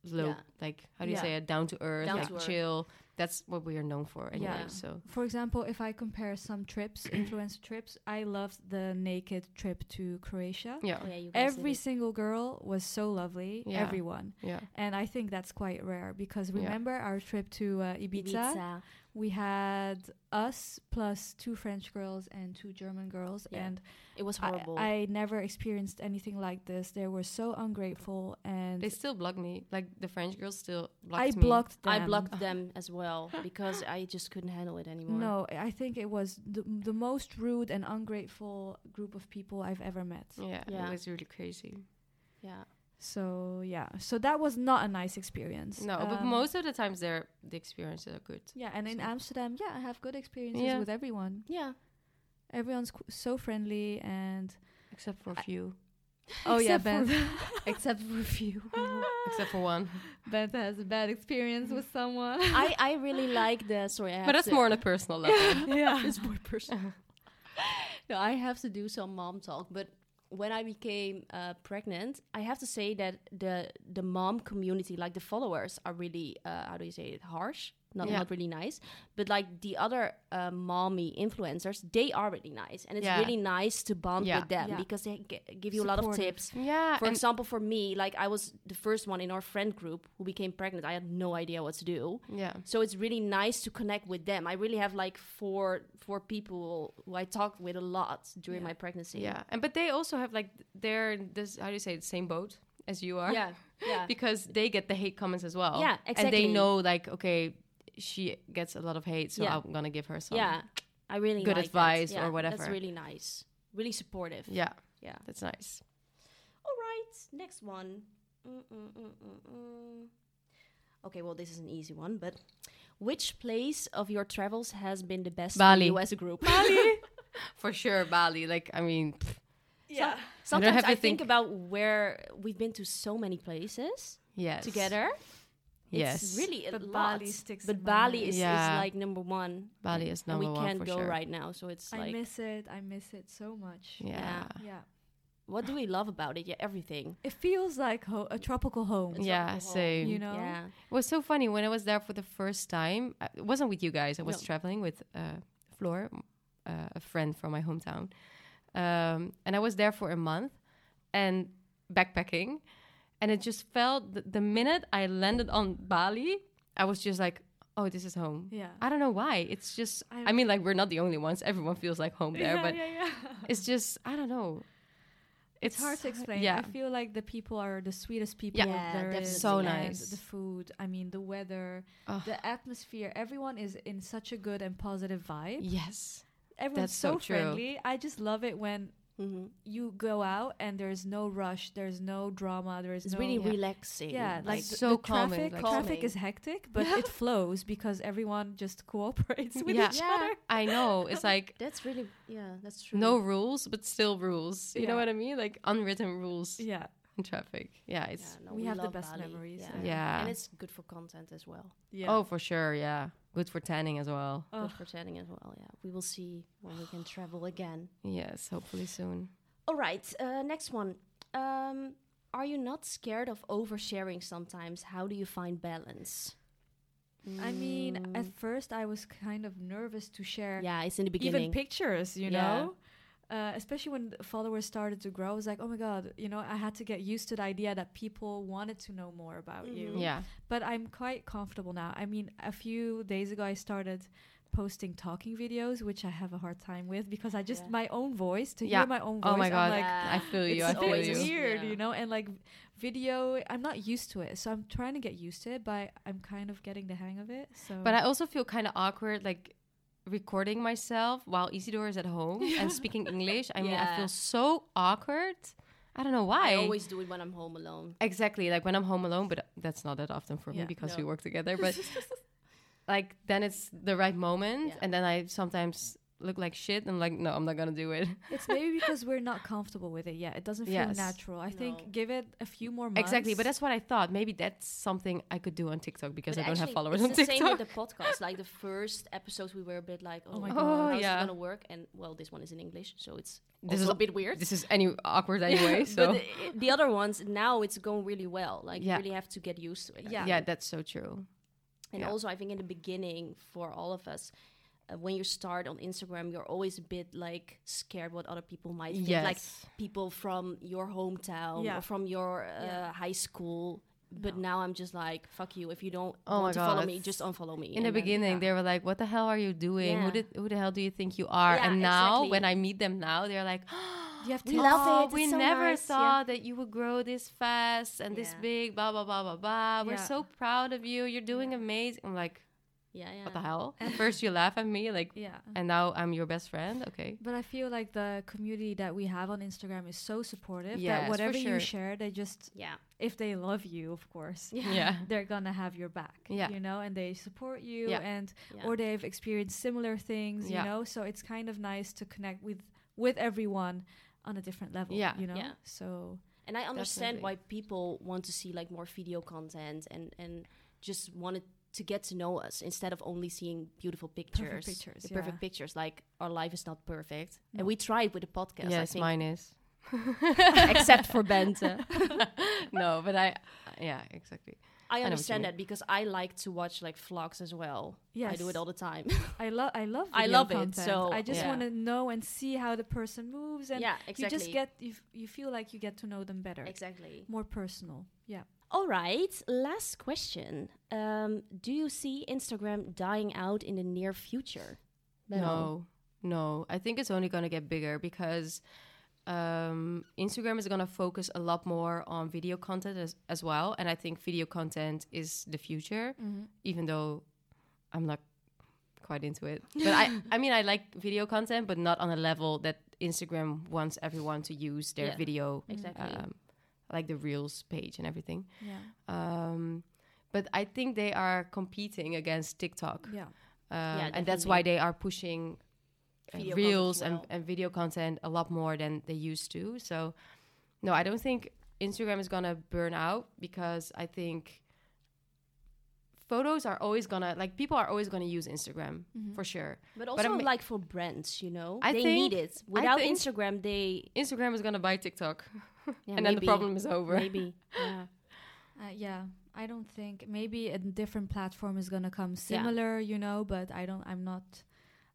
low, Yeah. like how do you Yeah. say it, down to earth, Down like to earth. chill. That's what we are known for anyway. Yeah. So For example, if I compare some [clears throat] trips, influencer trips, I loved the naked trip to Croatia. yeah, Oh, yeah. You guys did Every it. single girl was so lovely, Yeah. everyone. yeah, And I think that's quite rare because Yeah. remember our trip to uh, Ibiza? Ibiza. We had us plus two French girls and two German girls. Yeah. And It was I- horrible. I, never experienced anything like this. They were so ungrateful and they still block me. Like the French girls still blocked I me. blocked them. I blocked them as well because I just couldn't handle it anymore. No, I think it was the, the most rude and ungrateful group of people I've ever met. Yeah, Yeah. it was really crazy. Yeah. So yeah, so that was not a nice experience. No, but Um, most of the times, they're the experiences are good. yeah, and in so- Amsterdam, yeah, I have good experiences Yeah. with everyone. Yeah. Everyone's qu- so friendly and Except for a few. oh yeah, Except Ben, [laughs] Except for a [laughs] few. Except for one. Ben has a bad experience [laughs] with someone. I, I really like the sorry. I have But that's to- more on a personal [laughs] level. yeah, It's more personal. no, I have to do some mom talk, but when I became uh, pregnant, I have to say that the the mom community, like the followers, are really uh, how do you say it, harsh, not Yeah. not really nice. But like the other uh, mommy influencers, they are really nice, and it's Yeah. really nice to bond Yeah. with them Yeah. because they g- give you a lot of Supportive. tips. yeah. For and- example, for me, like I was the first one in our friend group who became pregnant. I had no idea what to do. yeah. So it's really nice to connect with them. I really have like four four people who I talked with a lot during my pregnancy. Yeah. And but they also have like they're in this how do you say it, same boat as you are. Yeah. Yeah. [laughs] because they get the hate comments as well. Yeah, And they exactly. know like, okay, she gets a lot of hate, so Yeah. I'm gonna give her some yeah. I really um, Good like that. advice or Yeah, That's whatever. really nice. Really supportive. Yeah. Yeah. That's nice. All right. Next one. Mm-mm-mm-mm-mm. Okay, well this is an easy one, but which place of your travels has been the best Bali. for you as a group? [laughs] Bali. For sure, Bali. Like I mean pff, yeah. I don't Sometimes I have to think, think- about where we've been to so many places yes. together. Yes. It's really a But lot. Bali sticks in But my Bali mind. is, Yeah. is like number one. Bali is and number we one can't for go sure. right now, so it's I like miss it. I miss it so much. Yeah. Yeah. Yeah. what do we love about it? Yeah, everything. It feels like ho- a tropical home. Yeah, oh. same. You know. Yeah. It was so funny when I was there for the first time. I, it wasn't with you guys. I was No. traveling with uh, Floor, m- uh, a friend from my hometown, um, and I was there for a month and backpacking. And it just felt th- the minute I landed on Bali, I was just like, "Oh, this is home." Yeah. I don't know why. It's just. I- I, mean, like we're not the only ones. Everyone feels like home there, but [laughs] yeah, yeah. it's just. I don't know. It's hard to explain. Yeah. I feel like the people are the sweetest people. Yeah, there definitely. is, So and nice. The food, I mean, the weather, Ugh. the atmosphere. Everyone is in such a good and positive vibe. yes. Everyone's that's so, so true. friendly. I just love it when hmm you go out and there's no rush, there's no drama, there's It's no really Yeah. relaxing. yeah, like It's th- so the calming, Traffic, like- traffic Calming. is [laughs] hectic, but it flows because everyone just cooperates [laughs] [laughs] with yeah. each Yeah. other. I know. It's like that's really yeah, that's true. no rules, but still rules. You Yeah. know what I mean? Like unwritten rules Yeah, in traffic. Yeah, Yeah, it's no, we have the love best Bali. memories Yeah. there. Yeah. and it's good for content as well. yeah. oh for sure. Yeah, good for tanning as well. Ugh. Good for tanning as well. Yeah, we will see when we can travel again. Yes, hopefully soon. All right, uh, next one. Um, are you not scared of oversharing sometimes? How do you find balance? I mean, Mm. at first I was kind of nervous to share Mm. Yeah, it's in the beginning. even pictures, you Yeah. know? Uh, especially when the followers started to grow, I was like, oh my god, you know, I had to get used to the idea that people wanted to know more about Mm, you. Mm-hmm. Yeah, But I'm quite comfortable now. I mean, a few days ago, I started posting talking videos, which I have a hard time with because I just Yeah. my own voice to yeah. hear my own voice. oh my god, I'm like, Yeah. I feel you. I it's a feel bit always you. me. weird, Yeah. you know, and like video, I'm not used to it, so I'm trying to get used to it, but I'm kind of getting the hang of it. So, But I also feel kind of awkward, like recording myself while Isidore is at home and speaking English. [laughs] I mean, I Yeah. feel so awkward. I don't know why. I always do it when I'm home alone. exactly like when I'm home alone, but that's not that often for me Yeah, because no. we work together. [laughs] But like then it's the right moment, Yeah. and then I sometimes look like shit. and like, no, I'm not gonna do it. It's maybe because we're not comfortable with it yet. It doesn't feel Yes. natural. I No. think give it a few more months. Exactly, but that's what I thought. Maybe that's something I could do on TikTok because But I don't have actually, followers it's on the TikTok. Same with the podcast. Like the first episodes, we were a bit like, "Oh, my how's God. Oh, it yeah. gonna work?" And well, this one is in English, so it's This also is- a bit weird. [laughs] This is any awkward anyway. so [laughs] But the, the other ones now it's going really well. Like Yeah. you really have to get used to it. I Yeah. yeah. think. that's so true. And Yeah. also, I think in the beginning for all of us, uh, when you start on Instagram, you're always a bit like scared what other people might think. Like Yes. people from your hometown Yeah. or from your uh, Yeah. high school. But now I'm just like, fuck you. If you don't Oh my want to God, follow me, that's- just unfollow me. In the And then- beginning, yeah. they were like, "What the hell are you doing? Who Yeah. did? Who the hell do you think you are?" Yeah, and now, exactly. when I meet them now, they're [gasps] like, [gasps] you have "We to love oh, it, it's We so never nice," yeah. thought that you would grow this fast and this Yeah. big. Blah blah blah blah blah. We're Yeah. so proud of you. You're doing amazing." I'm like, Yeah, yeah. "What the [laughs] hell?" At first, you laugh at me like, Yeah. and now I'm your best friend. [laughs] Okay. But I feel like the community that we have on Instagram is so supportive Yes, that for whatever sure. you share, they just Yeah. if they love you, of course, Yeah. [laughs] they're gonna have your back. Yeah. You know, and they support you Yeah. and Yeah. or they've experienced similar things, Yeah. you know. So it's kind of nice to connect with with everyone on a different level. Yeah. You know? Yeah. So And I understand Definitely. why people want to see like more video content and and just wanted to get to know us instead of only seeing beautiful pictures. pictures, The perfect yeah. pictures. Like our life is not perfect, and we try it with a podcast. I yes, think, mine is. [laughs] except for [laughs] Bente. no, but I, yeah, exactly. I you understand mean. that because I like to watch like vlogs as well. I do Yes. it all the time. [laughs] I love I love I video love it, content. so- I just Yeah. wanna know and see how the person moves and yeah, you exactly. just get you, f- you feel like you get to know them better. exactly. More personal. Yeah. All right, last question. Um, do you see Instagram dying out in the near future? No, no. I think it's only going to get bigger because um, Instagram is going to focus a lot more on video content as, as well. And I think video content is the future, Mm-hmm. even though I'm not quite into it. [laughs] But I, I mean, I like video content, but not on a level that Instagram wants everyone to use their Yeah, video, exactly. um, like the Reels page and everything. Yeah. Um, but I think they are competing against TikTok. Yeah. Um, and that's definitely. why they are pushing uh, Video content as reels and, well. and video content a lot more than they used to. So, no, I don't think Instagram is gonna burn out because I think photos are always gonna like people are always gonna use Instagram for sure. Mm-hmm. But But I also, mean- like for brands, you know, I they need think- it. I Without think- Instagram, [laughs] they Instagram is gonna buy TikTok, Yeah, [laughs] and then the maybe. problem is over. maybe. Yeah. Uh, yeah, I don't think maybe a different platform is gonna come similar, you know. But I don't. I'm not. [laughs]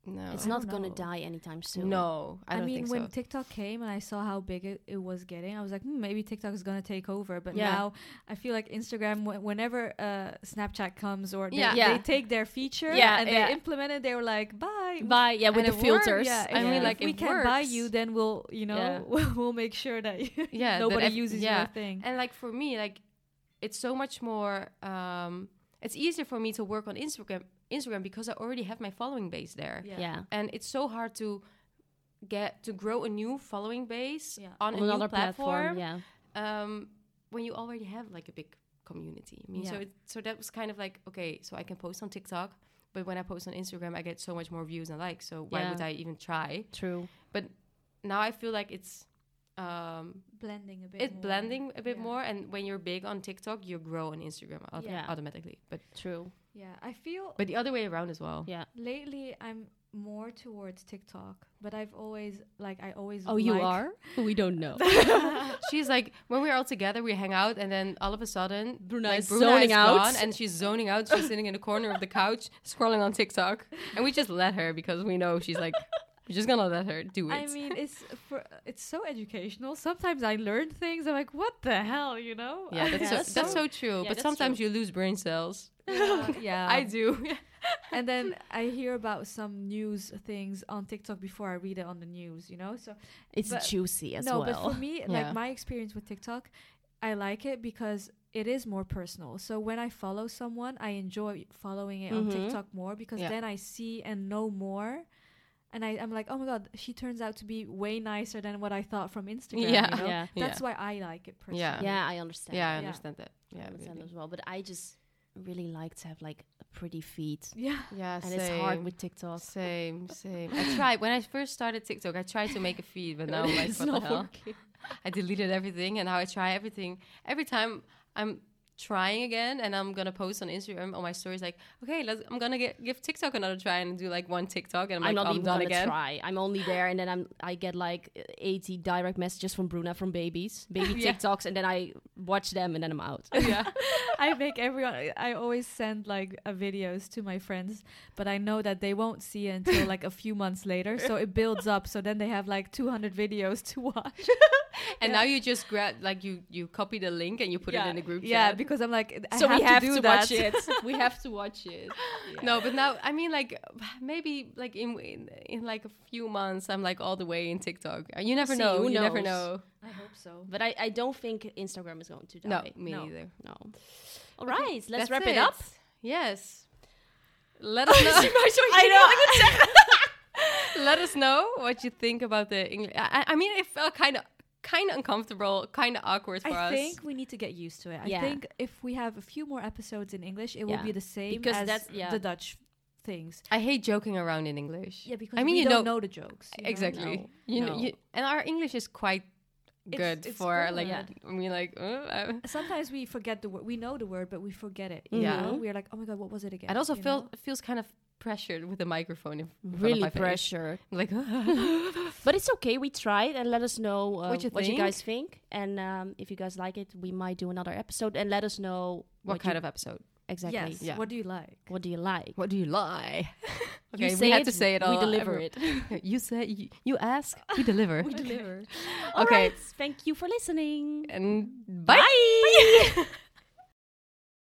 No, It's I not don't gonna know. die anytime soon. no, I I, don't mean, think when so. TikTok came and I saw how big it, it was getting, I was like, hmm, maybe TikTok is gonna take over. But Yeah. now I feel like Instagram, wh- whenever uh, Snapchat comes or they, Yeah. they Yeah. take their feature Yeah, and yeah. they implement it, they were like, bye. By yeah, with And the it works, filters. Yeah, if, I mean, if like, we it can buy works. you, then we'll, you know, Yeah. [laughs] we'll, we'll make sure that you, [laughs] Yeah, that nobody ev- uses yeah. your thing. And like for me, like it's so much more. Um, it's easier for me to work on Instagram, Instagram because I already have my following base there. Yeah. yeah. and it's so hard to get to grow a new following base Yeah. on, On a another new platform, platform. Yeah. um, when you already have like a big community. I mean, so Yeah. it, so that was kind of like okay, so I can post on TikTok, but when I post on Instagram, I get so much more views and likes. So why Yeah. would I even try? True. But now I feel like it's um, blending a bit. it's more. blending a bit Yeah. more, and when you're big on TikTok, you grow on Instagram auto- Yeah. automatically. But True. Yeah, I feel but the other way around as well. Yeah. Lately, I'm more towards TikTok, but I've always like I always. Oh, you like- are? We don't know. [laughs] She's like, when we're all together, we hang out, and then all of a sudden, Bruna like, is zoning out. gone, and she's zoning out. She's sitting in the corner of the couch, scrolling on TikTok, and we just let her because we know she's like, we're just gonna let her do it. I mean, it's for it's so educational. Sometimes I learn things. I'm like, what the hell, you know? yeah, that's, [laughs] Yeah, so, that's that's, so true. yeah, but that's sometimes you lose brain cells. Yeah, [laughs] yeah. I do. and then I hear about some news things on TikTok before I read it on the news. You know, so [laughs] It's But- juicy as no, well. [laughs] but for me, Yeah. like my experience with TikTok, I like it because it is more personal. So when I follow someone, I enjoy following it on Mhm. TikTok more because Yeah. then I see and know more. And I, I'm like, oh my god, she turns out to be way nicer than what I thought from Instagram. Yeah. you know? Yeah. that's why I like it personally. Yeah. yeah, I understand. yeah, I Yeah. understand that. I Yeah, understand really. as well. But I just really like to have like pretty feet, yeah, yeah. and it's hard same. with TikTok. Same, same. I tried when I first started TikTok. I tried to make a feed, but now I'm like, It's what the not hell? working. [laughs] I deleted everything, and now I try everything. Every time I'm trying again, and I'm gonna post on Instagram on my stories like, okay, let's. I'm gonna get, give TikTok another try and do like one TikTok, and I'm, I'm like, not I'm even done gonna again. try. I'm only there, and then I'm I get like 80 direct messages from Bruna from babies, baby Yeah. TikToks, and then I watch them, and then I'm out. [laughs] yeah, I make everyone. I- I always send like uh, videos to my friends, but I know that they won't see it until like a few months later. So it builds up. So then they have like 200 videos to watch. and now you just grab like you you copy the link and you put it in the group Yeah, chat. because I'm like, I so have we have to, to, do that. watch it. [laughs] we have to watch it. No, but now I mean, like maybe like in, in in like a few months, I'm like all the way in TikTok. You never See, know. who You never knows? know. I hope so. But I, I don't think Instagram is going to die. No, me No. neither. No. All right, let's That's wrap it, up. Yes. Let us know. [laughs] [laughs] Let us know what you think about the English. I, I mean, it felt kind of kind of uncomfortable, kind of awkward for I us. think we need to get used to it. Yeah. I think if we have a few more episodes in English, it Yeah. will be the same Because as that's- yeah. the Dutch things. I hate joking around in English. Yeah, because I mean we you don't know, know the jokes. you know? exactly. No. You know, No. you, and our English is quite good it's for good. like Yeah. I mean like uh, I- Sometimes we forget the word. We know the word, but we forget it. Yeah. Yeah, we're like, oh my god, what was it again? It also you feel, know? feels kind of pressured with the microphone in front of Really my face. pressure. [laughs] Like But it's okay. We tried and let us know uh, what, What you you think. guys think. And um, if you guys like it, we might do another episode and let us know what, kind you- of episode? exactly. Yes. Yeah. What do you like? What do you like? What do you [laughs] lie? You okay, we say have it, to say it we all. deliver it. [laughs] you say you, you ask, we deliver. deliver. Okay. Thank you for listening. And bye. Bye.